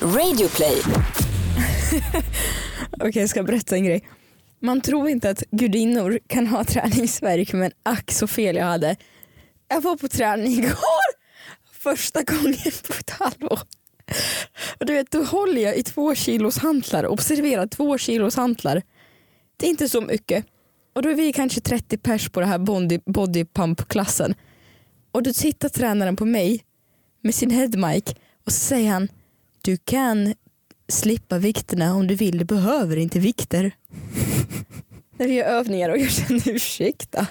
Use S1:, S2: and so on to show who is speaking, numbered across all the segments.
S1: Radioplay.
S2: Okej, jag ska berätta en grej. Man tror inte att gudinnor kan ha träningsvärk men ack så fel jag hade. Jag var på träning igår första gången på ett halvår. Och du vet, då håller jag i två kilos hantlar. Observera, två kilos hantlar. Det är inte så mycket. Och då är vi kanske 30 pers på den här body, body pump-klassen. Och då tittar tränaren på mig med sin headmic och så säger han du kan slippa vikterna om du vill, du behöver inte vikter. När vi gör övningar och jag känner ursäkta.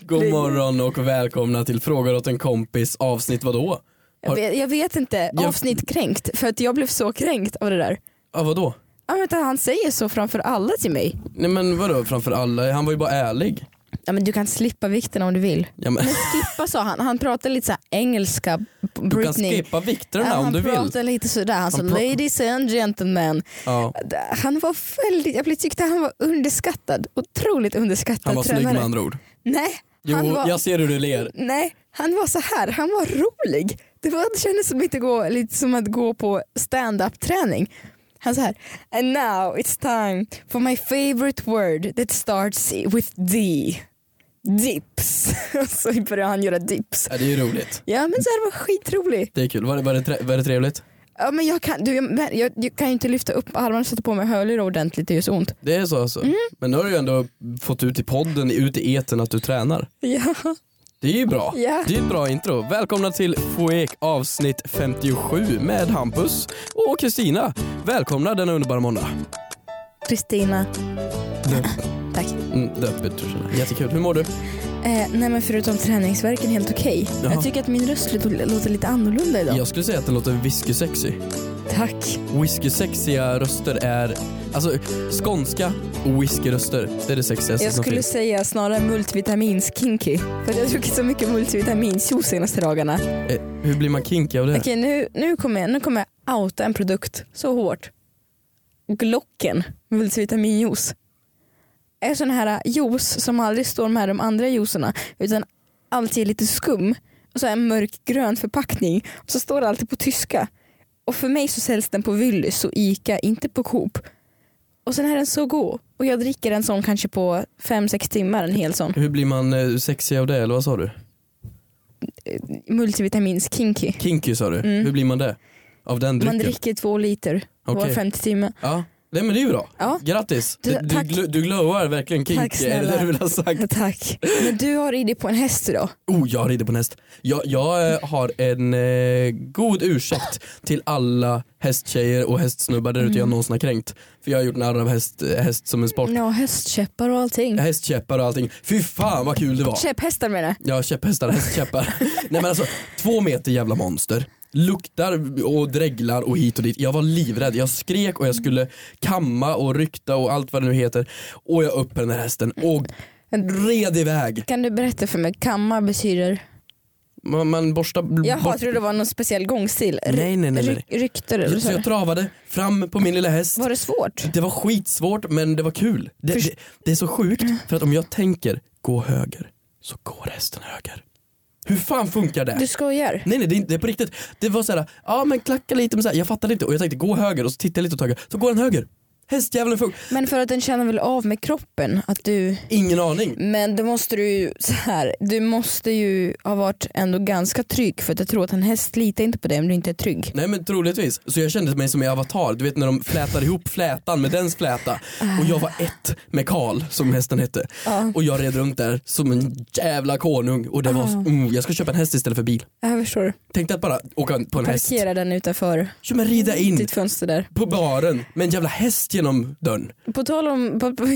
S3: God morgon och välkomna till Frågar åt en kompis avsnitt vadå?
S2: Jag vet, jag vet inte,
S3: Jag-
S2: avsnitt kränkt för att jag blev så kränkt av det där.
S3: Ja vadå?
S2: Ja, men att han säger så framför alla till mig.
S3: Nej men vadå framför alla? Han var ju bara ärlig.
S2: Ja, men du kan slippa vikterna om du vill.
S3: Ja, men,
S2: Skippa sa han, han pratade lite så här engelska. Britney.
S3: du kan skippa
S2: Ja,
S3: vikterna
S2: han
S3: om du vill.
S2: pratade lite sådär, han, sa
S3: Han pra-
S2: ladies and gentlemen.
S3: Ja,
S2: Han var väldigt, jag tyckte han var underskattad, otroligt underskattad
S3: han var snygg med
S2: tränare.
S3: andra ord.
S2: Nej,
S3: Jo
S2: han var...
S3: jag ser hur du ler.
S2: Nej, han var så här. Han var rolig. Det, var, det kändes som, inte gå, lite som att gå på stand-up träning. Han så här. And now it's time for my favorite word that starts with D. Dips. så började han göra dips.
S3: Ja, det är ju roligt.
S2: Ja men så här, det var skitrolig.
S3: Det är kul. Var det, var det, tre, var det trevligt?
S2: Ja, men jag, kan, du, jag, men jag, jag kan ju inte lyfta upp armarna och sätta på mig hörlurar ordentligt, det gör så ont.
S3: Det är så alltså.
S2: Mm.
S3: Men nu har du ju ändå fått ut i podden, ut i etern att du tränar.
S2: Ja.
S3: Det är ju bra.
S2: Ja.
S3: Det är ett bra intro. Välkomna till Foek avsnitt 57 med Hampus och Kristina. Välkomna denna underbara måndag.
S2: Kristina. Tack.
S3: Mm, det betyder så. Jättekul. Hur mår du?
S2: Eh, nej men förutom träningsverken helt okej.
S3: Jaha.
S2: Jag tycker att min röst låter, låter lite annorlunda idag.
S3: Jag skulle säga att den låter whiskysexy.
S2: Tack.
S3: Whiskysexiga röster är... Alltså skånska och whiskyröster, det är det sexigaste
S2: Jag
S3: som
S2: skulle
S3: finns.
S2: säga snarare multivitaminskinky. För jag har druckit så mycket multivitaminjuice senaste dagarna. Okej
S3: Eh, hur blir man kinky av det?
S2: nu, nu, kommer jag, nu kommer jag outa en produkt så hårt. Glocken multivitaminjuice. Är sån här juice som aldrig står med de andra juicerna utan alltid är lite skum och så är en mörkgrön förpackning och så står det alltid på tyska. Och för mig så säljs den på Willys och Ica, inte på Coop. Och sen är den så god och jag dricker en sån kanske på 5-6 timmar, en hel sån.
S3: Hur blir man eh, sexig av det eller vad sa du?
S2: multivitamins kinky.
S3: Kinky sa du,
S2: Mm.
S3: hur blir man det? Av den drycken?
S2: Man dricker två liter var
S3: Okej.
S2: femte timme.
S3: Ja, det, men det är ju bra.
S2: Ja.
S3: Grattis!
S2: Du-
S3: Du, du,
S2: tack.
S3: gl- du glowar verkligen
S2: Tack,
S3: kinky, är det
S2: snälla.
S3: det du vill ha sagt?
S2: Tack. Men du har ridit på en häst idag.
S3: Oh, jag rider på en häst. Jag, jag eh, har en eh, god ursäkt till alla hästtjejer och hästsnubbar där ute jag någonsin har kränkt. För jag har gjort narr av häst, eh, häst som en sport.
S2: Ja, hästkäppar och allting.
S3: Hästkäppar och allting. Fy fan vad kul det var.
S2: Käpphästar menar jag.
S3: Ja, käpphästar, hästkäppar. Nej men alltså, två meter jävla monster. Luktar och dreglar och hit och dit. Jag var livrädd, jag skrek och jag skulle kamma och rykta och allt vad det nu heter. Och jag upp på den här hästen och red iväg.
S2: Kan du berätta för mig, kamma betyder?
S3: Man, man borstar bl-
S2: Jaha,
S3: bort
S2: jag trodde det var någon speciell gångstil. Ry-
S3: Nej, nej, nej, nej.
S2: ryk- Rykter eller
S3: Så
S2: så.
S3: jag travade fram på min lilla häst.
S2: Var det svårt?
S3: Det var skitsvårt men det var kul. Det,
S2: Först- Mm.
S3: det, det är så sjukt för att om jag tänker gå höger så går hästen höger. Hur fan funkar det?
S2: Du skojar?
S3: Nej nej det är, inte- det är på riktigt. Det var såhär, ja men klacka lite men så här, jag fattade inte och jag tänkte gå höger och så tittade jag lite åt höger, så går den höger. Hästjäveln funkar.
S2: Men för att den känner väl av med kroppen att du...
S3: Ingen aning.
S2: Men då måste du ju så här, du måste ju ha varit ändå ganska trygg för att jag tror att en häst litar inte på dig om du inte är trygg.
S3: Nej men troligtvis. Så jag kände mig som i Avatar, du vet när de flätar ihop flätan med dens fläta.
S2: Ah.
S3: Och jag var ett med Karl som hästen hette. Och jag red runt där som en jävla konung och det var,
S2: Ah.
S3: mm, jag ska köpa en häst istället för bil.
S2: Jag förstår.
S3: Tänkte att bara åka på en häst.
S2: Parkera Typ. den utanför
S3: Ja, men rida in
S2: ditt fönster där.
S3: på baren med en jävla häst genom dörren.
S2: På tal om... På, på,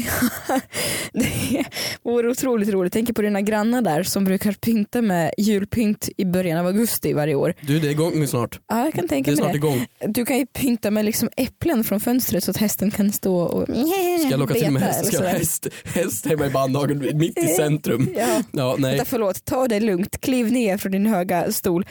S2: det vore otroligt roligt. Tänk på dina grannar där som brukar pynta med julpynt i början av augusti varje år.
S3: Du det är igång snart.
S2: Ja, jag kan
S3: Det
S2: tänka
S3: är
S2: mig
S3: snart
S2: det.
S3: igång.
S2: Du kan ju pynta med liksom äpplen från fönstret så att hästen kan stå och
S3: Ska jag locka till med
S2: beta
S3: häst?
S2: eller
S3: Ska jag ha
S2: sådär.
S3: häst, häst hemma i bandhagen mitt i centrum?
S2: Ja.
S3: Ja, nej.
S2: Vänta, förlåt, ta det lugnt. Kliv ner från din höga stol.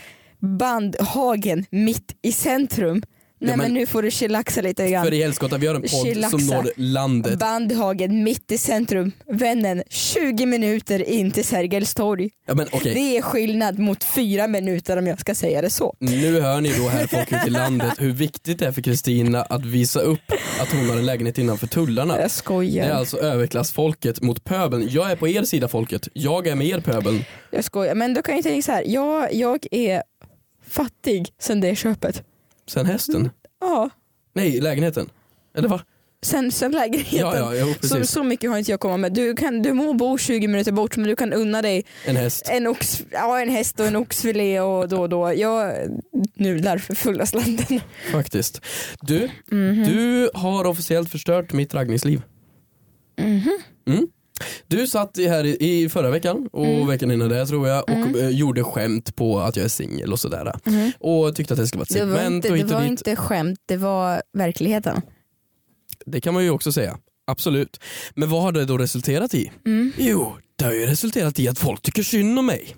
S2: Bandhagen mitt i centrum. Nej
S3: Ja,
S2: men
S3: men-
S2: nu får du chillaxa lite
S3: För
S2: grann.
S3: i helskotta, vi har en podd
S2: Chillaxa.
S3: som når landet.
S2: Bandhagen mitt i centrum, vännen 20 minuter in till Sergels torg.
S3: Ja, men okej.
S2: Det är skillnad mot fyra minuter om jag ska säga det så.
S3: Nu hör ni då här folk ute i landet hur viktigt det är för Kristina att visa upp att hon har en lägenhet innanför tullarna.
S2: Jag
S3: Det
S2: skojar.
S3: är alltså överklassfolket mot pöbeln. Jag är på er sida folket, jag är med er pöbeln.
S2: Jag skojar. Men då kan jag tänka så här. Ja, jag är fattig sen det köpet.
S3: Sen hästen?
S2: Ja,
S3: Nej, lägenheten. Eller va?
S2: sen, sen lägenheten.
S3: Ja, ja, jo,
S2: så,
S3: precis.
S2: så mycket har inte jag komma med. Du, kan, du må bo 20 minuter bort men du kan unna dig
S3: En häst.
S2: en, ox, ja, en häst och en oxfilé och då och då. Jag nudlar för fulla slanten.
S3: Faktiskt. Du,
S2: Mhm.
S3: du har officiellt förstört mitt raggningsliv.
S2: Mhm.
S3: Mm. Du satt i- här i, i förra veckan och
S2: Mm.
S3: veckan innan det tror jag och eh, gjorde skämt på att jag är singel och sådär. Och tyckte att det skulle vara ett
S2: Mhm. Det var,
S3: segment
S2: inte,
S3: och
S2: det
S3: hit och
S2: var
S3: dit.
S2: inte skämt, det var verkligheten.
S3: Det kan man ju också säga. Absolut. Men vad har det då resulterat i? Jo, det har ju resulterat i att folk tycker synd om mig.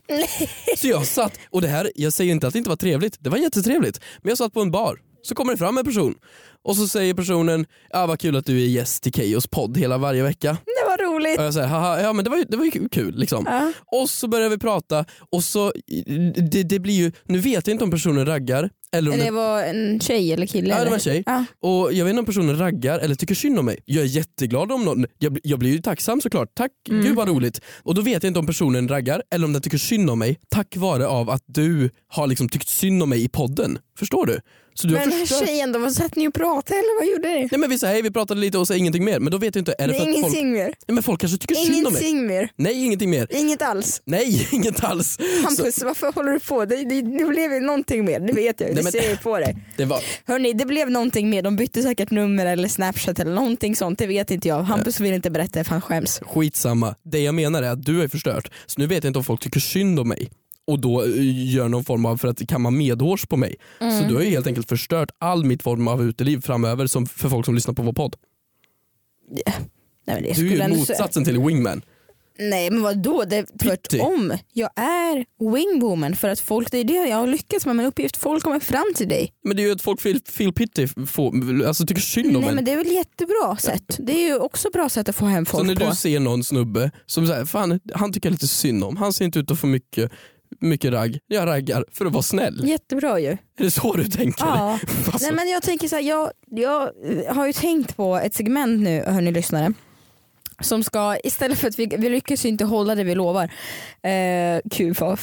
S3: så jag satt, och det här, jag säger inte att det inte var trevligt, det var jättetrevligt. Men jag satt på en bar, så kommer det fram en person. Och så säger personen, ja vad kul att du är gäst i Keyyos podd hela varje vecka.
S2: Det var roligt.
S3: Och jag säger, haha, ja men det var ju, det var ju kul liksom.
S2: Ja.
S3: Och så börjar vi prata och så, det, det blir ju, nu vet jag inte om personen raggar eller om
S2: Det var en tjej eller kille?
S3: Ja, det
S2: eller?
S3: var en tjej.
S2: Ja.
S3: Och jag vet inte om personen raggar eller tycker synd om mig. Jag är jätteglad om någon, jag, bli- jag blir ju tacksam såklart. Tack, gud vad roligt. Och då vet jag inte om personen raggar eller om den tycker synd om mig tack vare av att du har liksom tyckt synd om mig i podden. Förstår du? Så du har
S2: Men den här
S3: förstört.
S2: tjejen då, vad satt ni och pratade eller vad gjorde ni?
S3: Nej men vi sa hej, vi pratade lite och så ingenting mer. Men då vet jag inte, är
S2: Nej,
S3: det för att folk, nej,
S2: ingenting mer.
S3: men folk kanske tycker synd om mig?
S2: Ingenting mer.
S3: Nej, ingenting mer.
S2: Inget alls.
S3: Nej, inget alls. Så,
S2: Hampus, varför håller du på? Det, det, det blev ju någonting mer, det vet jag ju. Det
S3: Nej, men-
S2: ser jag ju på dig.
S3: det var,
S2: Hörni, det blev någonting mer. De bytte säkert nummer eller snapchat eller någonting sånt. Det vet inte jag. Hampus vill inte berätta för han skäms.
S3: Skitsamma, det jag menar är att du är förstört. Så nu vet jag inte om folk tycker synd om mig och då eh, gör någon form av för att kamma medhårs på mig.
S2: Mm.
S3: Så du har ju helt enkelt förstört all mitt form av uteliv framöver som för folk som lyssnar på vår podd.
S2: Nej, men det
S3: Du
S2: skulle
S3: är ju
S2: han-
S3: motsatsen till wingman.
S2: Nej men vadå, det är tvärtom. Jag är wingwoman för att folk, det är det jag har lyckats med min uppgift. Folk kommer fram till dig.
S3: Men det är ju att folk feel, feel pity, får, alltså tycker synd om
S2: Nej
S3: en.
S2: men det är väl jättebra sätt. Det är ju också bra sätt att få hem
S3: Så
S2: folk
S3: när
S2: på.
S3: du ser någon snubbe som säger fan han tycker jag lite synd om, han ser inte ut att få mycket, mycket ragg. Jag raggar för att vara snäll.
S2: Jättebra ju.
S3: Är det så du tänker?
S2: Ja.
S3: Alltså,
S2: Nej men jag tänker så här, jag, jag har ju tänkt på ett segment nu hörni lyssnare. Som ska, istället för att vi, vi lyckas ju inte hålla det vi lovar. Eh, gud vad,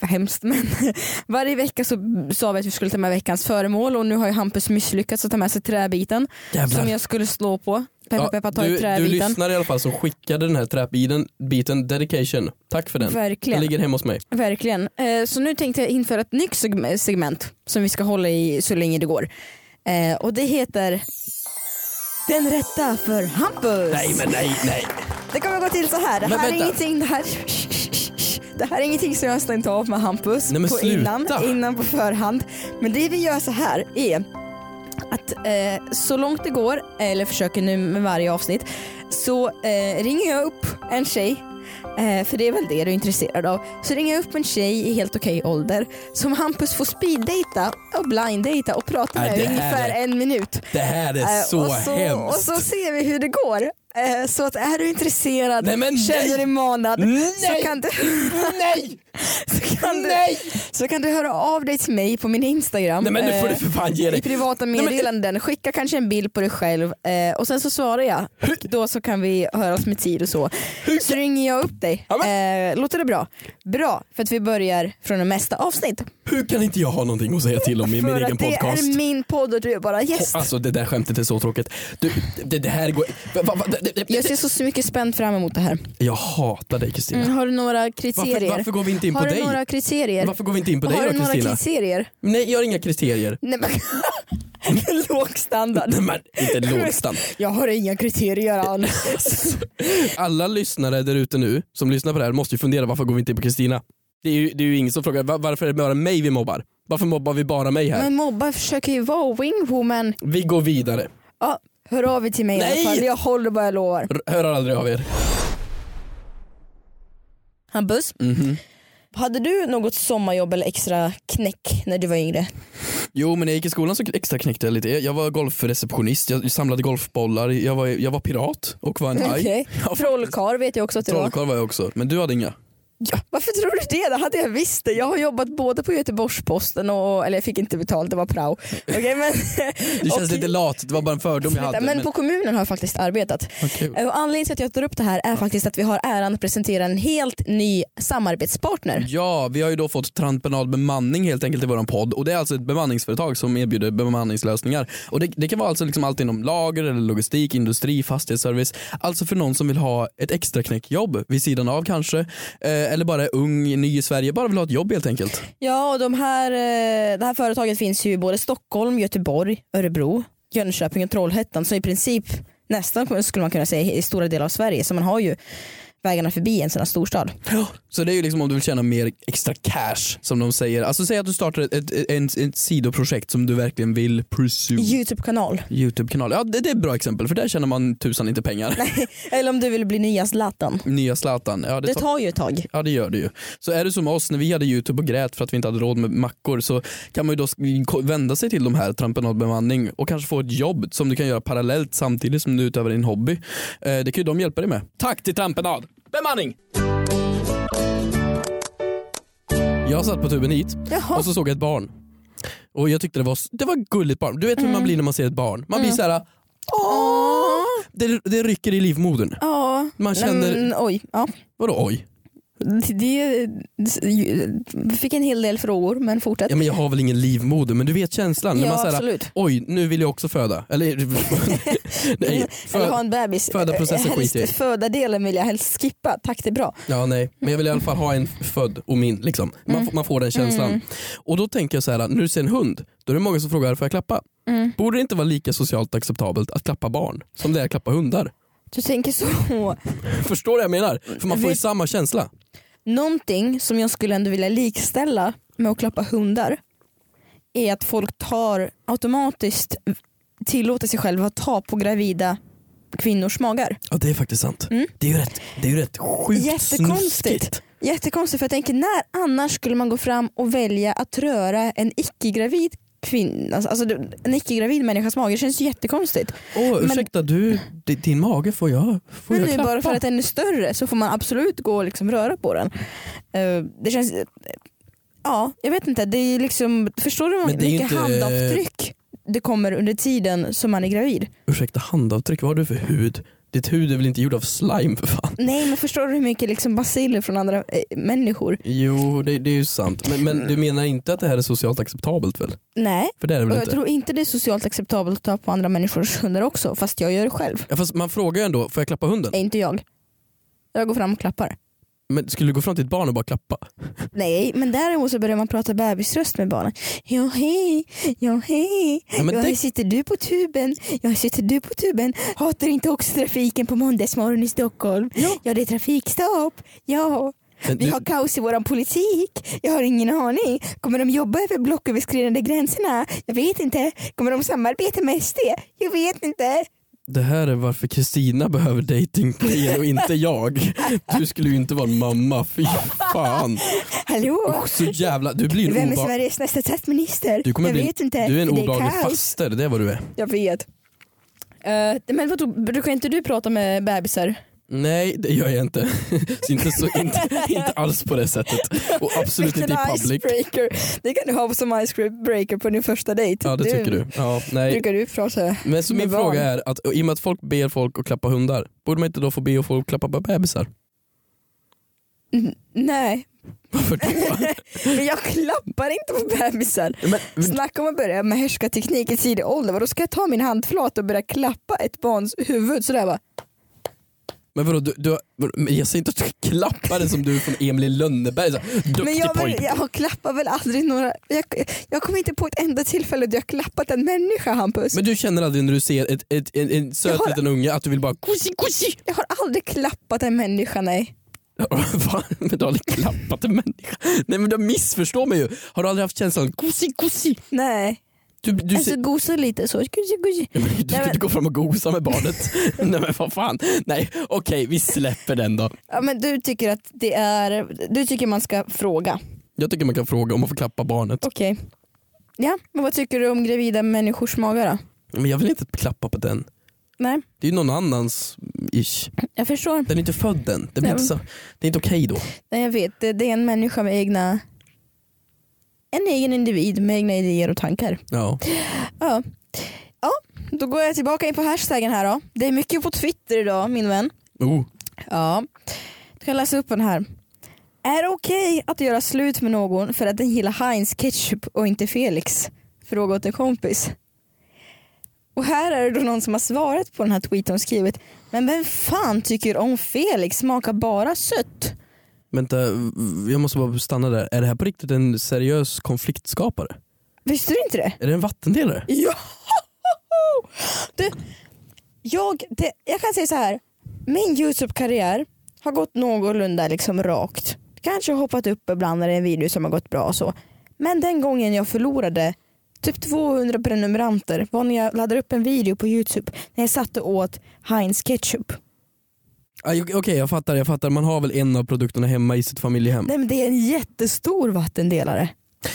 S2: vad hemskt men varje vecka så sa vi att vi skulle ta med veckans föremål och nu har ju Hampus misslyckats att ta med sig träbiten.
S3: jävlar.
S2: Som jag skulle slå på. Peppa
S3: Ja,
S2: peppa ta
S3: du,
S2: i
S3: du
S2: träbiten.
S3: lyssnar i alla fall som skickade den här träbiten, biten dedication. Tack för den. Den
S2: Verkligen.
S3: ligger hemma hos mig.
S2: Verkligen. Eh, Så nu tänkte jag införa ett nytt seg- segment som vi ska hålla i så länge det går. Eh, Och det heter Den rätta för Hampus.
S3: nej, nej.
S2: Det kommer gå till så här. Det
S3: Men
S2: här är
S3: vänta.
S2: ingenting, det här... Det här är ingenting som jag har stängt av med Hampus
S3: Nej, men
S2: på
S3: sluta.
S2: innan, innan på förhand. Men det vi gör så här är att eh, så långt det går, eller försöker nu med varje avsnitt, så eh, ringer jag upp en tjej, eh, för det är väl det du är intresserad av. Så ringer jag upp en tjej i helt okej ålder som Hampus får speeddejta och blinddejta och prata
S3: Nej,
S2: med i
S3: det här
S2: ungefär
S3: är-
S2: en minut.
S3: Det här är
S2: Eh,
S3: så
S2: och så,
S3: hemskt.
S2: Och så ser vi hur det går. Eh, Så att är du intresserad,
S3: Nej, men
S2: känner
S3: nej!
S2: dig manad,
S3: Nej!
S2: så kan, du,
S3: Nej!
S2: så, kan du,
S3: Nej!
S2: så kan du höra av dig till mig på min Instagram.
S3: Nej men nu får du
S2: eh,
S3: för fan ge
S2: i
S3: dig.
S2: privata
S3: men-
S2: meddelanden, skicka kanske en bild på dig själv eh, och sen så svarar jag. Då så kan vi höras med tid och så. Så ringer jag upp dig.
S3: Ja,
S2: Eh, låter det bra? Bra, för att vi börjar från det nästa avsnitt.
S3: Hur kan inte jag ha någonting att säga till om i min
S2: för
S3: egen
S2: att det
S3: podcast?
S2: är min podd och du är bara gäst.
S3: Alltså det där skämtet är så tråkigt. Du, det, det här går... Va, va, va, det, det,
S2: Jag ser så mycket spänt fram emot det här.
S3: Jag hatar dig Kristina.
S2: Mm, har du några
S3: Varför,
S2: kriterier?
S3: varför går vi inte in på
S2: har du
S3: dig?
S2: några kriterier?
S3: Varför går vi inte in på
S2: har
S3: dig
S2: du
S3: då
S2: några
S3: Kristina?
S2: kriterier?
S3: Nej jag har inga kriterier.
S2: Nej men låg standard.
S3: Nej men inte lågstand.
S2: Jag har inga kriterier alls.
S3: alla lyssnare där ute nu som lyssnar på det här måste ju fundera varför går vi inte in på Kristina? Det är ju, det är ju ingen som frågar "Va- varför är det bara mig vi mobbar? Varför mobbar vi bara mig här?
S2: men mobbar försöker ju vara wingwoman.
S3: Vi går vidare.
S2: Ja, hör av er till mig i
S3: Nej!
S2: alla fall. Jag håller vad jag lovar.
S3: R- hör aldrig av er.
S2: Mhm. Hampus, Hade du något sommarjobb eller extra knäck när du var yngre?
S3: Jo men när jag gick i skolan så extra knäckte jag lite. Jag var golfreceptionist, jag samlade golfbollar, jag var, jag var pirat och var en haj.
S2: Okej.
S3: Ja,
S2: Trollkarl vet jag också att du var.
S3: Trollkarl var jag också, men du hade inga?
S2: Ja, varför tror du det? Det hade jag visst det. Jag har jobbat både på Göteborgs-Posten och, eller jag fick inte betalt, det var prao. Okej, men,
S3: Du känns
S2: och-
S3: lite lat, det var bara en fördom jag hade.
S2: men på kommunen har jag faktiskt arbetat.
S3: Okej.
S2: Eh, Och anledningen till att jag tar upp det här är faktiskt att vi har äran att presentera en helt ny samarbetspartner.
S3: Ja, vi har ju då fått Transprenad Bemanning helt enkelt i våran podd och det är alltså ett bemanningsföretag som erbjuder bemanningslösningar. Och det, det kan vara alltså liksom allt inom lager, eller logistik, industri, fastighetsservice. Alltså för någon som vill ha ett extra knäckjobb vid sidan av kanske. Eh, eller bara är ung, ny i Sverige, bara vill ha ett jobb helt enkelt.
S2: Ja, och de här, eh, det här företaget finns ju i både Stockholm, Göteborg, Örebro, Jönköping och Trollhättan. Så i princip nästan skulle man kunna säga i stora delar av Sverige. Så man har ju vägarna förbi en sån här storstad.
S3: Så det är ju liksom om du vill tjäna mer extra cash som de säger. Alltså säg att du startar ett, ett, ett, ett sidoprojekt som du verkligen vill pursue.
S2: Youtube-kanal.
S3: Youtube-kanal. Ja det, det är ett bra exempel för där tjänar man tusan inte pengar.
S2: Eller om du vill bli nya Zlatan.
S3: Nya Zlatan. Ja,
S2: Det
S3: tar-
S2: tar ju ett tag.
S3: Ja det gör det ju. Så är det som oss när vi hade Youtube och grät för att vi inte hade råd med mackor så kan man ju då sk- vända sig till de här trampenadbemanning och kanske få ett jobb som du kan göra parallellt samtidigt som du utövar din hobby. Eh, det kan ju de hjälpa dig med. Tack till Trampenad Bemanning! Jag satt på tuben hit
S2: Jaha.
S3: och så såg jag ett barn. Och jag tyckte det var, s- det var ett gulligt barn. Du vet hur man blir när man ser ett barn. Man blir så här.
S2: Åh.
S3: Det, det rycker i livmodern.
S2: Ja.
S3: Man känner,
S2: Men, oj, ja.
S3: vadå oj?
S2: Det, vi fick en hel del frågor men fortsätt.
S3: Ja, men jag har väl ingen livmoder men du vet känslan. när
S2: Ja,
S3: man så här,
S2: absolut.
S3: Oj, nu vill jag också föda. Eller nej.
S2: Eller ha
S3: För,
S2: en bebis.
S3: födarprocessen
S2: Helst
S3: skiter jag i.
S2: Födardelen vill jag helst skippa, tack det är bra.
S3: ja, nej. Men jag vill i alla fall ha en född och min. Liksom. Man,
S2: Mm.
S3: får- man får den känslan. Och då tänker jag så här, när du ser en hund, då är det många som frågar får jag klappa?
S2: Mm.
S3: Borde det inte vara lika socialt acceptabelt att klappa barn som det är att klappa hundar?
S2: Du tänker så.
S3: Förstår du vad jag menar? För man får ju
S2: Vet-
S3: samma känsla.
S2: Någonting som jag skulle ändå vilja likställa med att klappa hundar är att folk tar automatiskt tillåter sig själva att ta på gravida kvinnors magar.
S3: Ja det är faktiskt sant. Det är ju rätt, det är ju rätt sjukt snuskigt.
S2: Mm. Jättekonstigt. Jättekonstigt för jag tänker när annars skulle man gå fram och välja att röra en icke-gravid kvinna, alltså, alltså det- en icke-gravid människas mage. Det känns ju jättekonstigt.
S3: Åh
S2: Men-
S3: ursäkta du, di- din mage får jag, får
S2: Men
S3: jag
S2: nu
S3: klappa?
S2: bara för att den är större så får man absolut gå och liksom röra på den. Eh, det känns, ja jag vet inte, det är ju liksom, förstår du hur
S3: Men det är ju
S2: mycket
S3: inte-
S2: handavtryck det kommer under tiden som man är gravid?
S3: Ursäkta handavtryck, vad har du för hud? Ditt hud är väl inte gjord av slime för fan?
S2: Nej men förstår du hur mycket liksom baciller från andra eh, människor?
S3: Jo, det, det är ju sant. Men, men du menar inte att det här är socialt acceptabelt väl?
S2: Nej,
S3: För det är det
S2: och
S3: väl
S2: jag
S3: inte?
S2: tror inte det är socialt acceptabelt att ta på andra människors hundar också fast jag gör det själv.
S3: Ja, fast man frågar ju ändå, får jag klappa hunden?
S2: Är inte jag. Jag går fram och klappar.
S3: Men skulle du gå fram till ett barn och bara klappa?
S2: Nej, men däremot så börjar man prata bebisröst med barnen. Ja hej, ja hej,
S3: Ja, men
S2: ja,
S3: det-
S2: här sitter du på tuben, ja sitter du på tuben, hatar inte också trafiken på måndagsmorgon i Stockholm. Ja, det är trafikstopp, ja.
S3: Men
S2: Vi
S3: nu-
S2: har kaos i våran politik. Jag har ingen aning. Kommer de jobba över blocköverskridande gränserna? Jag vet inte. Kommer de samarbeta med SD? Jag vet inte.
S3: Det här är varför Kristina behöver datingplayer och inte jag. Du skulle ju inte vara en mamma, fy fan.
S2: Hallå?
S3: Och så jävla, du blir en
S2: Vem är
S3: obehaglig...
S2: Sveriges nästa statsminister?
S3: Du kommer
S2: jag
S3: bli
S2: vet inte.
S3: Du är en
S2: för det
S3: obehaglig
S2: kaos.
S3: faster, det är vad du är.
S2: Jag vet. Eh, men vadå, brukar inte du prata med bebisar?
S3: Nej, det gör jag inte. Så inte, så, inte, inte alls på det sättet. Och absolut inte i public.
S2: icebreaker. Det kan du ha som icebreaker på din första dejt.
S3: Ja, det tycker du. Ja, nej.
S2: Brukar du prata?
S3: Men så min
S2: Med barn.
S3: fråga är, att, i och med att folk ber folk att klappa hundar, borde man inte då få be folk att klappa bara bebisar?
S2: Mm, Nej,
S3: Varför då?
S2: men jag klappar inte på bebisar.
S3: Men,
S2: Snacka om att börja med härskarteknik i tidig ålder. Då ska jag ta min handflat och börja klappa ett barns huvud sådär va?
S3: men vadå, du, du, vadå, men jag säger inte att du klappar det som du är från Emil i Lönneberg. Så, här, Duktig
S2: Men jag, väl,
S3: pojk.
S2: jag klappar väl aldrig några... Jag, jag kommer inte på ett enda tillfälle där jag klappat en människa Hampus.
S3: Men du känner aldrig när du ser ett, ett, en, en söt
S2: Jag har-
S3: liten unge att du vill bara kusi kusi?
S2: Jag har aldrig klappat en människa nej.
S3: Va? Men du har aldrig klappat en människa? Nej men du missförstår mig ju. Har du aldrig haft känslan kusi kusi?
S2: Nej.
S3: Du, du,
S2: Alltså
S3: ser-
S2: gosa lite så. Gusi, gusi.
S3: du
S2: Nej,
S3: ska inte
S2: men,
S3: gå fram och gosa med barnet. Nej men vad fan. Nej okej vi släpper den då.
S2: ja, men du tycker att det är, du tycker man ska fråga.
S3: Jag tycker man kan fråga om man får klappa barnet.
S2: Okej. Ja, men vad tycker du om gravida människors magar då?
S3: Men jag vill inte klappa på den.
S2: Nej,
S3: Det är ju någon annans ish.
S2: jag förstår.
S3: Den är inte född än. Det, blir
S2: Nej,
S3: inte, så, det är inte okej då.
S2: Nej, jag vet. Det, det är en människa med egna... En egen individ med egna idéer och tankar.
S3: Ja.
S2: Ja. ja, då går jag tillbaka in på hashtaggen här då. Det är mycket på Twitter idag min vän.
S3: Oh.
S2: Ja, du kan läsa upp den här. Är det okej att göra slut med någon för att den gillar Heinz ketchup och inte Felix? Fråga åt en kompis. Och här är det då någon som har svarat på den här tweeten och skrivit Men vem fan tycker om Felix? Smakar bara sött.
S3: Vänta, jag måste bara stanna där. Är det här på riktigt en seriös konfliktskapare?
S2: Visste du inte det?
S3: Är det en vattendelare?
S2: Ja! Du, jag, det, jag kan säga så här. Min Youtube-karriär har gått någorlunda liksom rakt. Kanske hoppat upp ibland när det är en video som har gått bra och så. Men den gången jag förlorade typ 200 prenumeranter var när jag laddade upp en video på Youtube när jag satt och åt Heinz ketchup.
S3: Ah, Okej jag fattar, jag fattar. Man har väl en av produkterna hemma i sitt familjehem.
S2: Nej men det är en jättestor vattendelare.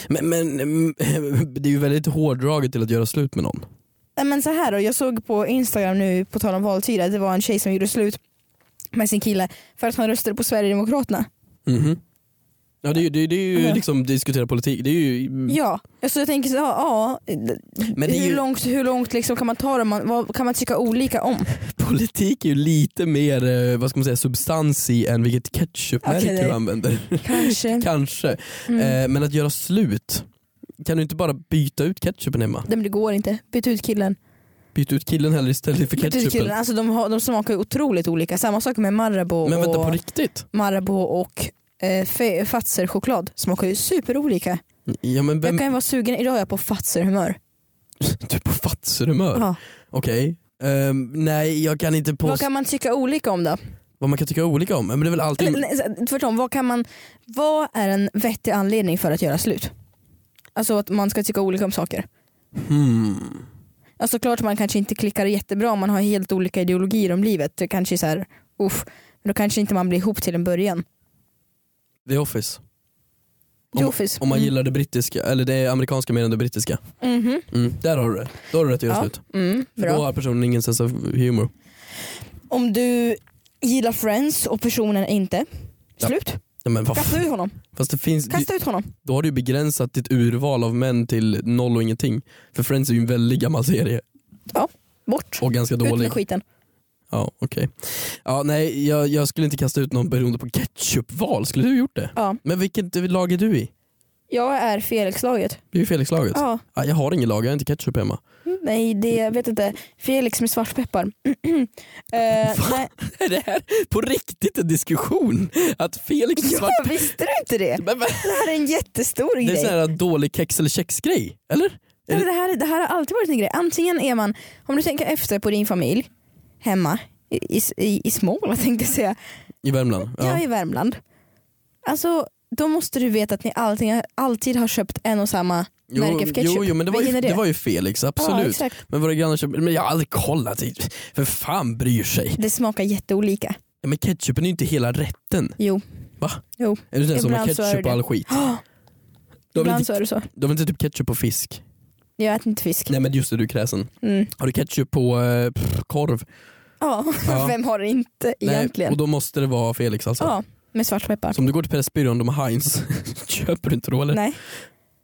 S3: Men, men mm, det är ju väldigt hårdraget till att göra slut med någon.
S2: Nej, men så här då, jag såg på Instagram nu på tal om valtider, det var en tjej som gjorde slut med sin kille för att han röstade på Sverigedemokraterna.
S3: Mhm. Ja det är ju, det, är- det är ju
S2: Ja.
S3: liksom diskutera politik, det är ju...
S2: Ja, alltså jag tänker så ja, ja
S3: Mm. Men det är
S2: hur
S3: ju,
S2: långt, hur långt liksom kan man ta det? Man, vad kan man tycka olika om?
S3: politik är ju lite mer, eh, vad ska man säga, substans i än vilket ketchupmärke
S2: Okej, det-
S3: du använder.
S2: Kanske.
S3: Kanske.
S2: Mm.
S3: Eh, men att göra slut, kan du inte bara byta ut ketchupen hemma?
S2: Nej, men det går inte. Byt ut killen.
S3: Byt ut killen heller istället för
S2: Byt ut killen.
S3: ketchupen.
S2: Alltså, de, har, de smakar ju otroligt olika. Samma sak med Marabou
S3: Men vänta på
S2: och,
S3: riktigt?
S2: Marabou och eh, Fe- Fazer-choklad. Smakar ju superolika.
S3: Ja men vem,
S2: Jag kan ju vara sugen, idag är jag på Fazer-humör.
S3: du är på fattighumör.
S2: Ja.
S3: Okej. Ehm, nej jag kan inte påstå
S2: Vad
S3: vad,
S2: kan man tycka olika om då?
S3: man kan tycka olika om. Men det är väl alltid...
S2: Eller, nej, så- tvärtom, vad, kan man, vad är en vettig anledning för att göra slut? Alltså att man ska tycka olika om saker.
S3: Hmm.
S2: Alltså klart man kanske inte klickar jättebra om man har helt olika ideologier om livet. Det kanske är så här, uff, men då kanske inte man blir ihop till en början.
S3: The Office.
S2: The
S3: Om-
S2: Office.
S3: Om man gillar det brittiska, eller det amerikanska mer än det brittiska.
S2: Mm. Mhm.
S3: Mm, där har du det. Då har du rätt att göra
S2: Ja,
S3: slut.
S2: Mm,
S3: För då
S2: bra.
S3: har personen ingen sense of humor.
S2: Om du gillar Friends och personen inte,
S3: Ja.
S2: slut.
S3: Ja, men vad
S2: Kasta ut honom.
S3: Fast det finns,
S2: Kasta ut honom.
S3: då har du ju begränsat ditt urval av män till noll och ingenting. För Friends är ju en väldigt gammal serie
S2: Bort.
S3: och ganska
S2: Ut
S3: dålig.
S2: med skiten.
S3: Ja, okej. Ja, nej, jag, jag skulle inte kasta ut någon beroende på ketchupval. Skulle du ha gjort det?
S2: Ja.
S3: Men vilket lag är du i?
S2: Jag är Felix-laget.
S3: Du är ju Felix-laget. Ja.
S2: Ja.
S3: jag har ingen lag, jag har inte ketchup hemma.
S2: Nej, det jag vet inte. Felix med svartpeppar. Eh, nej,
S3: Är det här på riktigt en diskussion? Att Felix är svart...
S2: jag visste du inte det?
S3: Men, men,
S2: Det här är en jättestor
S3: det är
S2: grej.
S3: sån här dålig kex eller kex-grej, eller?
S2: Ja, men Det här, det här har alltid varit en grej. Antingen är man, om du tänker efter på din familj hemma i, i, i Småland tänkte jag säga,
S3: I Värmland?
S2: ja.
S3: Ja.
S2: i Värmland. Alltså då måste du veta att ni allting, alltid har köpt en och samma märke för ketchup.
S3: jo, jo, men det var,
S2: Vilken
S3: ju,
S2: är det?
S3: det var ju Felix,
S2: Ja,
S3: absolut.
S2: exakt.
S3: men våra grannar köper, men jag har aldrig kollat. i- Vem fan bryr sig?
S2: Det smakar jätteolika.
S3: Ja, men ketchupen är ju inte hela rätten.
S2: Jo.
S3: Va?
S2: Jo.
S3: Är du den som har
S2: Ibland så är
S3: ketchup på
S2: det.
S3: all skit? Du har väl
S2: Ibland
S3: inte,
S2: så är det så.
S3: du har väl inte typ ketchup på fisk?
S2: Jag äter inte fisk.
S3: Nej men just det, du är kräsen.
S2: Mm.
S3: Har du ketchup på eh, pff, korv?
S2: Ja,
S3: Ja.
S2: vem har det inte
S3: Nej,
S2: egentligen?
S3: och då måste det vara Felix alltså.
S2: Ja, med svartpeppar.
S3: Så om du går till Pressbyrån, de har Heinz, köper du inte då eller?
S2: Nej,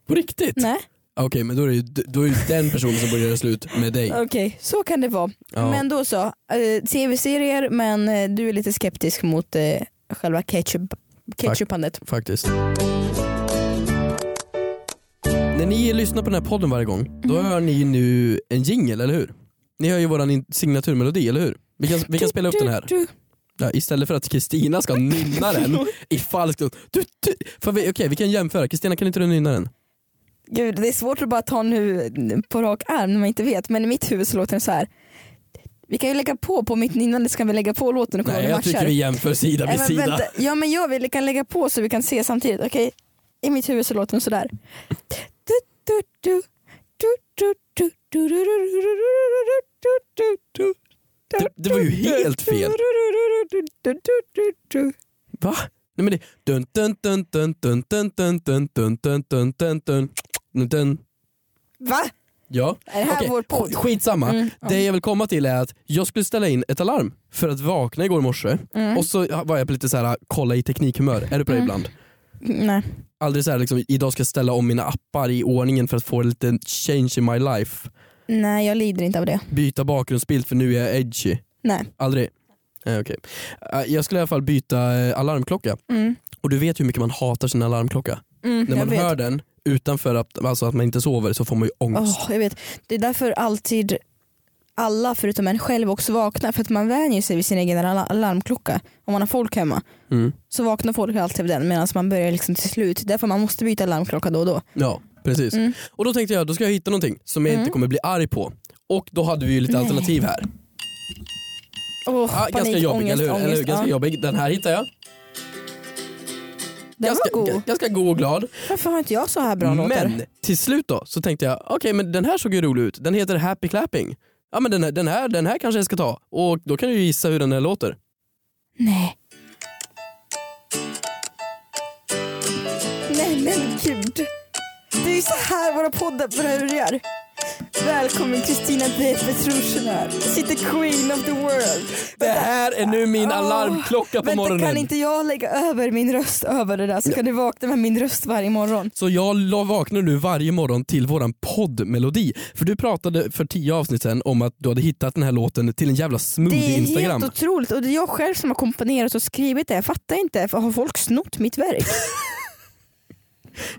S3: På riktigt?
S2: nej.
S3: Okej men då är det ju då är det ju den personen som börjar göra slut med dig.
S2: Okej, så kan det vara.
S3: Ja.
S2: Men då så, eh, tv-serier men eh, du är lite skeptisk mot eh, själva ketchup, ketchupandet.
S3: Faktiskt. När ni lyssnar på den här podden varje gång, då
S2: Mm.
S3: hör ni nu en jingle, eller hur? Ni hör ju våran in- signaturmelodi, eller hur? Vi kan, vi kan spela upp den här.
S2: Du, du,
S3: Ja, istället för att Kristina ska nynna den i falsk ton. Du, du, för vi, okej, vi kan jämföra. Kristina, kan inte du nynna den?
S2: Gud, det är svårt att bara ta nu på rak arm när man inte vet men i mitt huvud så låter den så här. Vi kan ju lägga på på mitt nynnande så kan vi lägga på låten och kolla om
S3: Nej,
S2: det
S3: jag tycker
S2: matchar.
S3: vi jämför sida
S2: Nej,
S3: vid
S2: men
S3: sida.
S2: vänta. Ja men jag vill, kan lägga på så vi kan se samtidigt. Okej, i mitt huvud så låter den sådär. Du, du, du, du, du,
S3: Det- det var ju helt fel. Va? Nej men det... Dun, dun, dun, dun, dun, dun, dun, dun, dun, dun, dun, dun, dun, dun, dun.
S2: Va?
S3: Ja.
S2: Är det här
S3: Okej,
S2: vår podd?
S3: sk- Skitsamma.
S2: Mm, ja.
S3: Det jag vill komma till är att jag skulle ställa in ett alarm för att vakna igår morse
S2: Mm.
S3: och så var jag på lite så här kolla i teknikhumör. Är du på det
S2: Mm.
S3: ibland?
S2: Nej.
S3: Aldrig så här liksom, idag ska jag ställa om mina appar i ordningen för att få lite change in my life.
S2: Nej, jag lider inte av det.
S3: Byta bakgrundsbild för nu är jag edgy.
S2: Nej.
S3: Aldrig. Eh, okej. Eh, Jag skulle i alla fall byta eh, alarmklocka.
S2: Mm.
S3: Och du vet hur mycket man hatar sin alarmklocka.
S2: Mm,
S3: När
S2: jag
S3: man
S2: vet.
S3: hör den utanför att, alltså att man inte sover så får man ju ångest.
S2: Åh, jag vet. Det är därför alltid alla förutom en själv också vaknar för att man vänjer sig vid sin egen ala- alarmklocka. Om man har folk hemma
S3: Mm.
S2: så vaknar folk alltid vid den medan man börjar liksom till slut. Därför man måste byta alarmklocka då och då.
S3: Ja, precis.
S2: Mm.
S3: Och då tänkte jag då ska jag hitta någonting som jag inte kommer bli arg på. Och då hade vi ju lite
S2: Nej.
S3: alternativ här.
S2: Oh,
S3: Ja, ganska jobbig, eller hur? eller hur? Ganska jobbig. Den här hittar jag.
S2: Den
S3: ganska,
S2: var god.
S3: g- ganska god och glad.
S2: Varför har inte jag så här bra låtar?
S3: men till slut då så tänkte jag, okej men den här såg ju rolig ut. Den heter Happy Clapping. Ja men den här, den här, den här kanske jag ska ta. Och då kan du ju gissa hur den här låter.
S2: Nej. Nej men gud. Det är ju så här våra poddar börjar. Välkommen Kristina D. Petrushina här. Sitter Queen of the World.
S3: Det här är nu min
S2: Åh,
S3: alarmklocka på
S2: Vänta
S3: morgonen.
S2: kan inte jag lägga över min röst över det där så kan du vakna med min röst varje morgon.
S3: Så jag la- vaknar nu varje morgon till våran poddmelodi. För du pratade för tio avsnitt sedan om att du hade hittat den här låten till en jävla
S2: Det är
S3: smoothie-instagram.
S2: helt otroligt och det är jag själv som har komponerat och skrivit det. Jag fattar inte, för har folk snott mitt verk?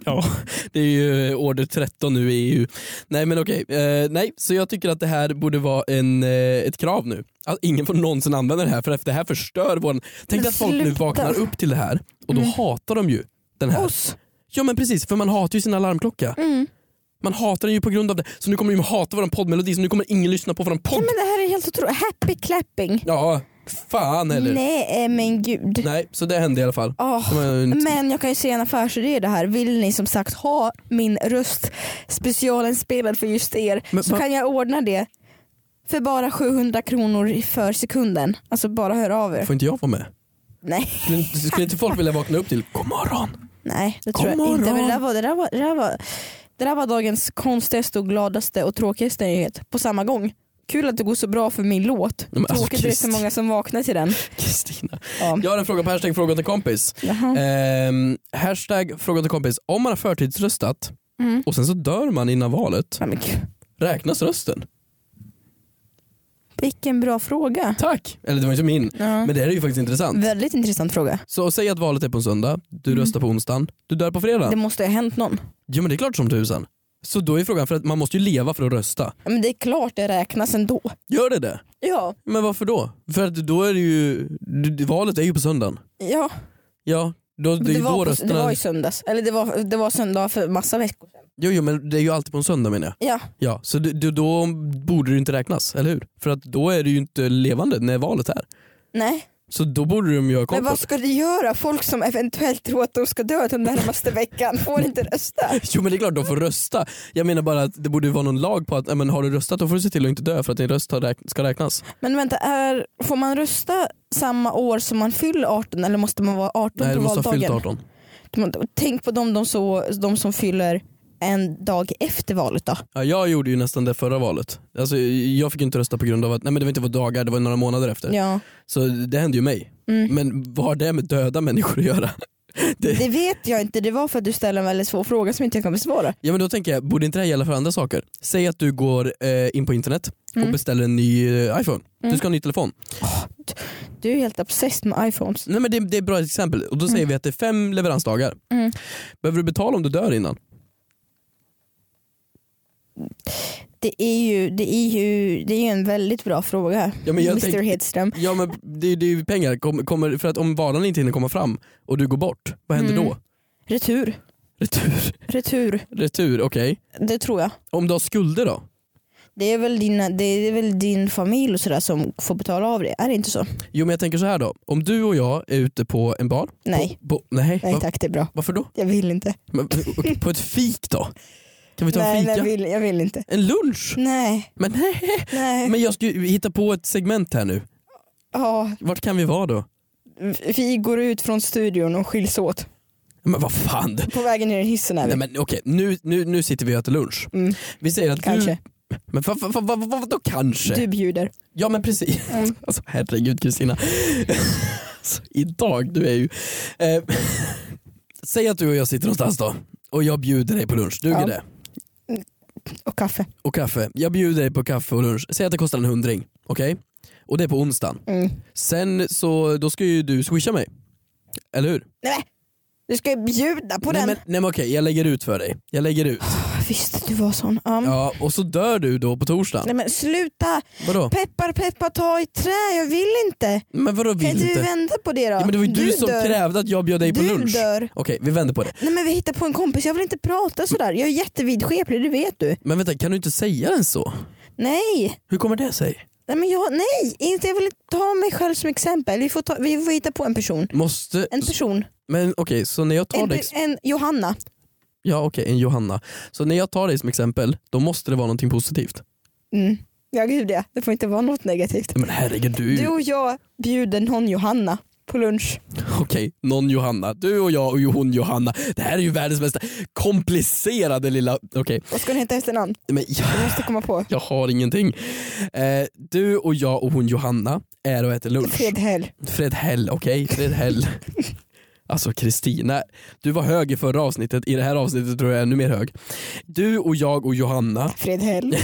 S3: Ja, det är ju order 13 nu i EU. Nej men okej, eh, nej så jag tycker att det här borde vara en, eh, ett krav nu. Att ingen får någonsin använda det här för att det här förstör våran... Tänk
S2: Men
S3: dig att folk nu
S2: sluta. Mm.
S3: vaknar upp till det här och då hatar de ju den här.
S2: Oss?
S3: Ja men precis, för man hatar ju sin alarmklocka.
S2: Mm.
S3: Man hatar den ju på grund av det. Så nu kommer de ju hata våran poddmelodi så nu kommer ingen lyssna på våran
S2: Ja,
S3: podd.
S2: men det här är helt otroligt. Happy clapping.
S3: Ja, fan eller?
S2: Nej eh, men gud.
S3: Nej, så det hände i alla fall.
S2: Åh,
S3: Det var ju en-
S2: Men jag kan ju se en affärsidé i det här. Vill ni som sagt ha min röst specialinspelad för just er
S3: Men
S2: så
S3: va-
S2: kan jag ordna det för bara 700 kronor för sekunden. Alltså bara hör av er.
S3: Får inte jag vara med?
S2: Nej.
S3: Skulle, skulle inte folk vilja vakna upp till God morgon?
S2: Nej, det
S3: God
S2: tror jag inte. Men det,
S3: morgon.
S2: där var, det, där var, det, där var, det där var dagens konstigaste och gladaste och tråkigaste nyhet på samma gång. Kul att det går så bra för min låt.
S3: men alltså,
S2: Tråkigt att det är så
S3: Krist.
S2: många som vaknar till den.
S3: Kristina.
S2: Ja.
S3: Jag har en fråga på hashtag fråga till kompis.
S2: Jaha.
S3: Ehm, hashtag fråga till kompis. Om man har förtidsröstat
S2: Mm.
S3: och sen så dör man innan valet,
S2: Ja, men gud.
S3: räknas rösten?
S2: Vilken bra fråga.
S3: Tack! Eller det var ju inte min,
S2: Ja.
S3: men det här är ju faktiskt intressant.
S2: Väldigt intressant fråga.
S3: Så säg att valet är på en söndag, du röstar på onsdagen, du dör på fredag.
S2: Mm. Det måste ju ha hänt någon.
S3: Jo men det är klart som tusan. Så då är frågan, för att man måste ju leva för att rösta.
S2: Ja, Men det är klart det räknas ändå.
S3: Gör det det?
S2: Ja,
S3: Men varför då? För att då är det ju, d- valet är ju på söndagen.
S2: ja.
S3: Ja, då, det är
S2: Det,
S3: ju
S2: var,
S3: då
S2: på, det var
S3: rösterna...
S2: i söndags. Eller det var, det var söndag för massa veckor sedan.
S3: Jo, jo men det är ju alltid på en söndag menar jag.
S2: Ja,
S3: Ja, så d- d- då borde det inte räknas, eller hur? För att då är det ju inte levande när valet är.
S2: nej.
S3: Så då borde de ju ha koll
S2: Men
S3: på
S2: vad
S3: det.
S2: ska du göra? Folk som eventuellt tror att de ska dö den närmaste veckan får inte rösta.
S3: Jo men det är klart de får rösta. Jag menar bara att det borde vara någon lag på att ja, men har du röstat då får du se till att inte dö för att din röst har räk- ska räknas.
S2: Men vänta, är, får man rösta samma år som man fyller 18 eller måste man vara 18
S3: Nej
S2: på
S3: du måste ha fyllt
S2: valdagen?
S3: 18.
S2: Man- Tänk på de, de, så, de som fyller en dag efter valet då.
S3: Ja, jag gjorde ju nästan det förra valet. Alltså, jag fick inte rösta på grund av att, nej men det var inte på dagar, det var några månader efter.
S2: Ja.
S3: Så det hände ju mig.
S2: Mm.
S3: Men vad har det med döda människor att göra?
S2: Det vet jag inte, det var för att du ställde en väldigt svår fråga som inte jag kan besvara.
S3: Ja men då tänker jag, borde inte det här gälla för andra saker? Säg att du går eh, in på internet och
S2: Mm.
S3: beställer en ny eh, iPhone.
S2: Mm.
S3: Du ska ha en ny telefon.
S2: Du är helt obsessed med iPhones.
S3: Nej men det, det är ett bra exempel. Och då säger vi att det är fem leveransdagar.
S2: Mm.
S3: Behöver du betala om du dör innan?
S2: Det är ju, det är ju, det är ju en väldigt bra fråga,
S3: Ja, men jag
S2: Mr
S3: tänk-
S2: Hedström.
S3: Ja men det, det är ju pengar. Kom, kommer, för att om varan inte hinner komma fram och du går bort, vad händer
S2: Mm.
S3: då?
S2: Retur.
S3: Retur,
S2: Retur,
S3: retur okej.
S2: det tror jag.
S3: Om du har skulder då?
S2: Det är väl, dina, det är väl din familj och sådär som får betala av det, är det inte så?
S3: Jo men jag tänker så här då. Om du och jag är ute på en bar.
S2: Nej.
S3: På, på, nej,
S2: Nej
S3: va,
S2: tack det är bra.
S3: varför då?
S2: Jag vill inte.
S3: Men, och- och på ett fik då? Kan vi ta
S2: nej,
S3: en fika?
S2: nej vill, jag vill inte.
S3: En lunch?
S2: Nej,
S3: Men nej.
S2: nej.
S3: Men jag ska ju hitta på ett segment här nu.
S2: Ja,
S3: Vart kan vi vara då?
S2: vi går ut från studion och skiljs åt.
S3: Men vad fan.
S2: På vägen ner i hissen är vi.
S3: Nej, men, okej, nu, nu, nu sitter vi och äter lunch.
S2: Mm,
S3: Vi säger att
S2: kanske.
S3: du... Men vad va, va, va, va, vadå kanske?
S2: Du bjuder.
S3: Ja men precis.
S2: Mm.
S3: Alltså herregud Kristina. alltså, idag, du är ju... Eh, säg att du och jag sitter någonstans då och jag bjuder dig på lunch, duger
S2: Ja.
S3: det?
S2: Och kaffe.
S3: Och kaffe. Jag bjuder dig på kaffe och lunch. Säg att det kostar en hundring, okej? Och det är på onsdagen.
S2: Mm.
S3: Sen så, då ska ju du swisha mig. Eller hur?
S2: Nej, men, du ska ju bjuda på
S3: nej,
S2: den.
S3: men, nej men okej, jag lägger ut för dig. Jag lägger ut.
S2: Ah, Visst, du var sån. Ja.
S3: Ja, och så dör du då på torsdagen.
S2: Nej men sluta!
S3: Vadå?
S2: Peppar peppar ta i trä, jag vill inte.
S3: Men vadå vill
S2: Kan inte
S3: inte?
S2: vi vända på det då?
S3: ja, men det var ju du, som
S2: dör.
S3: krävde att jag bjöd dig på
S2: Du
S3: lunch.
S2: dör.
S3: Okej, vi vänder på det.
S2: Nej men vi hittar på en kompis, jag vill inte prata sådär. Jag är jättevidskeplig, det vet du.
S3: Men vänta, kan du inte säga den så?
S2: Nej!
S3: Hur kommer det sig?
S2: Nej, men jag, nej. Inte, jag vill inte ta mig själv som exempel. Vi får, ta, vi får hitta på en person.
S3: Måste...
S2: En person.
S3: Men okej, så när jag tar
S2: En,
S3: dig...
S2: pe- en Johanna.
S3: Ja okej, en Johanna. Så när jag tar dig som exempel, då måste det vara någonting positivt.
S2: Mm. Ja gud ja, det får inte vara något negativt.
S3: Men herregud, du är
S2: Du
S3: ju...
S2: och jag bjuder någon Johanna på lunch.
S3: Okej, någon Johanna. Du och jag och hon Johanna. Det här är ju världens mest komplicerade lilla... Okej,
S2: Vad ska den heta i efternamn?
S3: men jag,
S2: Jag måste komma på.
S3: jag har ingenting. Eh, du och jag och hon Johanna är och äter lunch.
S2: Fred Hell.
S3: Fred Hell, okej? Fred Hell. Alltså Kristina, du var hög i förra avsnittet, i det här avsnittet tror jag är ännu mer hög. Du och jag och Johanna,
S2: Fred Hell.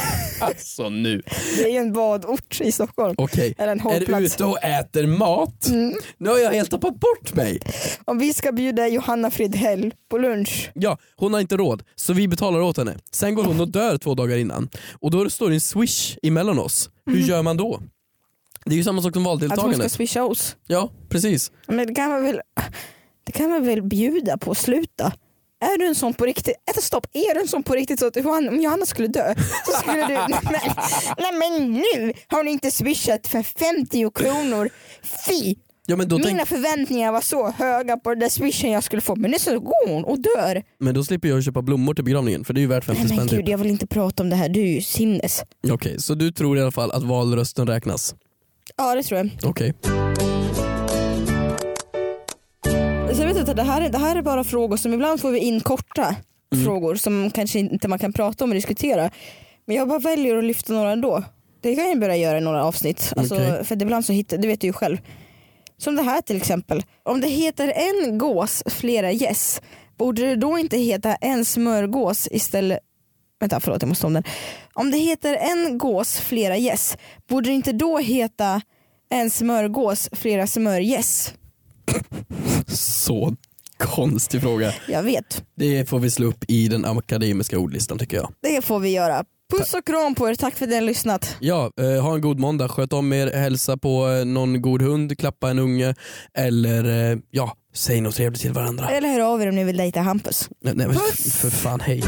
S3: alltså nu.
S2: Det är ju en badort i Stockholm.
S3: Okej,
S2: Eller en Mm.
S3: är
S2: hållplats.
S3: ute och äter mat. Nu har jag helt tappat bort mig.
S2: Om vi ska bjuda Johanna Fridhäll på lunch.
S3: Ja, hon har inte råd, så vi betalar åt henne. Sen går hon och dör två dagar innan. Och då står det en swish emellan oss. Hur gör man då? Det är ju samma sak som
S2: Mhm. Att hon ska
S3: valdeltagandet.
S2: swisha oss.
S3: Ja, precis.
S2: Men det kan man väl, det kan man väl bjuda på. Sluta. Är du en sån på riktigt? Ett stopp. Är du en sån på riktigt så att Johanna, om Johanna skulle dö så skulle du... Nej, men- nej men nu har hon inte swishat för 50 kronor. Fy!
S3: Ja, men, då tänk,
S2: Mina förväntningar var så höga på den där swishen jag skulle få men nu så går hon och dör.
S3: men då slipper jag köpa blommor till begravningen för det är ju värt 50
S2: Nej men
S3: spänn typ.
S2: gud jag vill inte prata om det här, du är ju sinnes.
S3: Okej, så du tror i alla fall att valrösten räknas?
S2: Ja det tror jag.
S3: Okej.
S2: Så jag vet inte, det, här, det här är bara frågor som ibland får vi in korta frågor som kanske inte man kan prata om och diskutera. Men jag bara väljer att lyfta några ändå. Det kan jag börja göra i några avsnitt. Alltså,
S3: Okej.
S2: För att ibland så hittar, du vet ju själv. Som det här till exempel. Om det heter en gås flera gäss, borde det då inte heta en smörgås istället Vänta förlåt jag måste om den. Om det heter en gås flera gäss, borde det inte då heta en smörgås flera smörgäss?
S3: Så konstig fråga.
S2: Jag vet.
S3: Det får vi slå upp i den akademiska ordlistan tycker jag.
S2: Det får vi göra. Puss och kram på er, tack för att ni har lyssnat.
S3: Ja, eh, ha en god måndag, sköt om er, hälsa på eh, någon god hund, klappa en unge eller eh, ja, säg något trevligt till varandra.
S2: Eller hör av er om ni vill dejta Hampus.
S3: Nej, nej, men
S2: Eh, Puss!
S3: för fan, hej.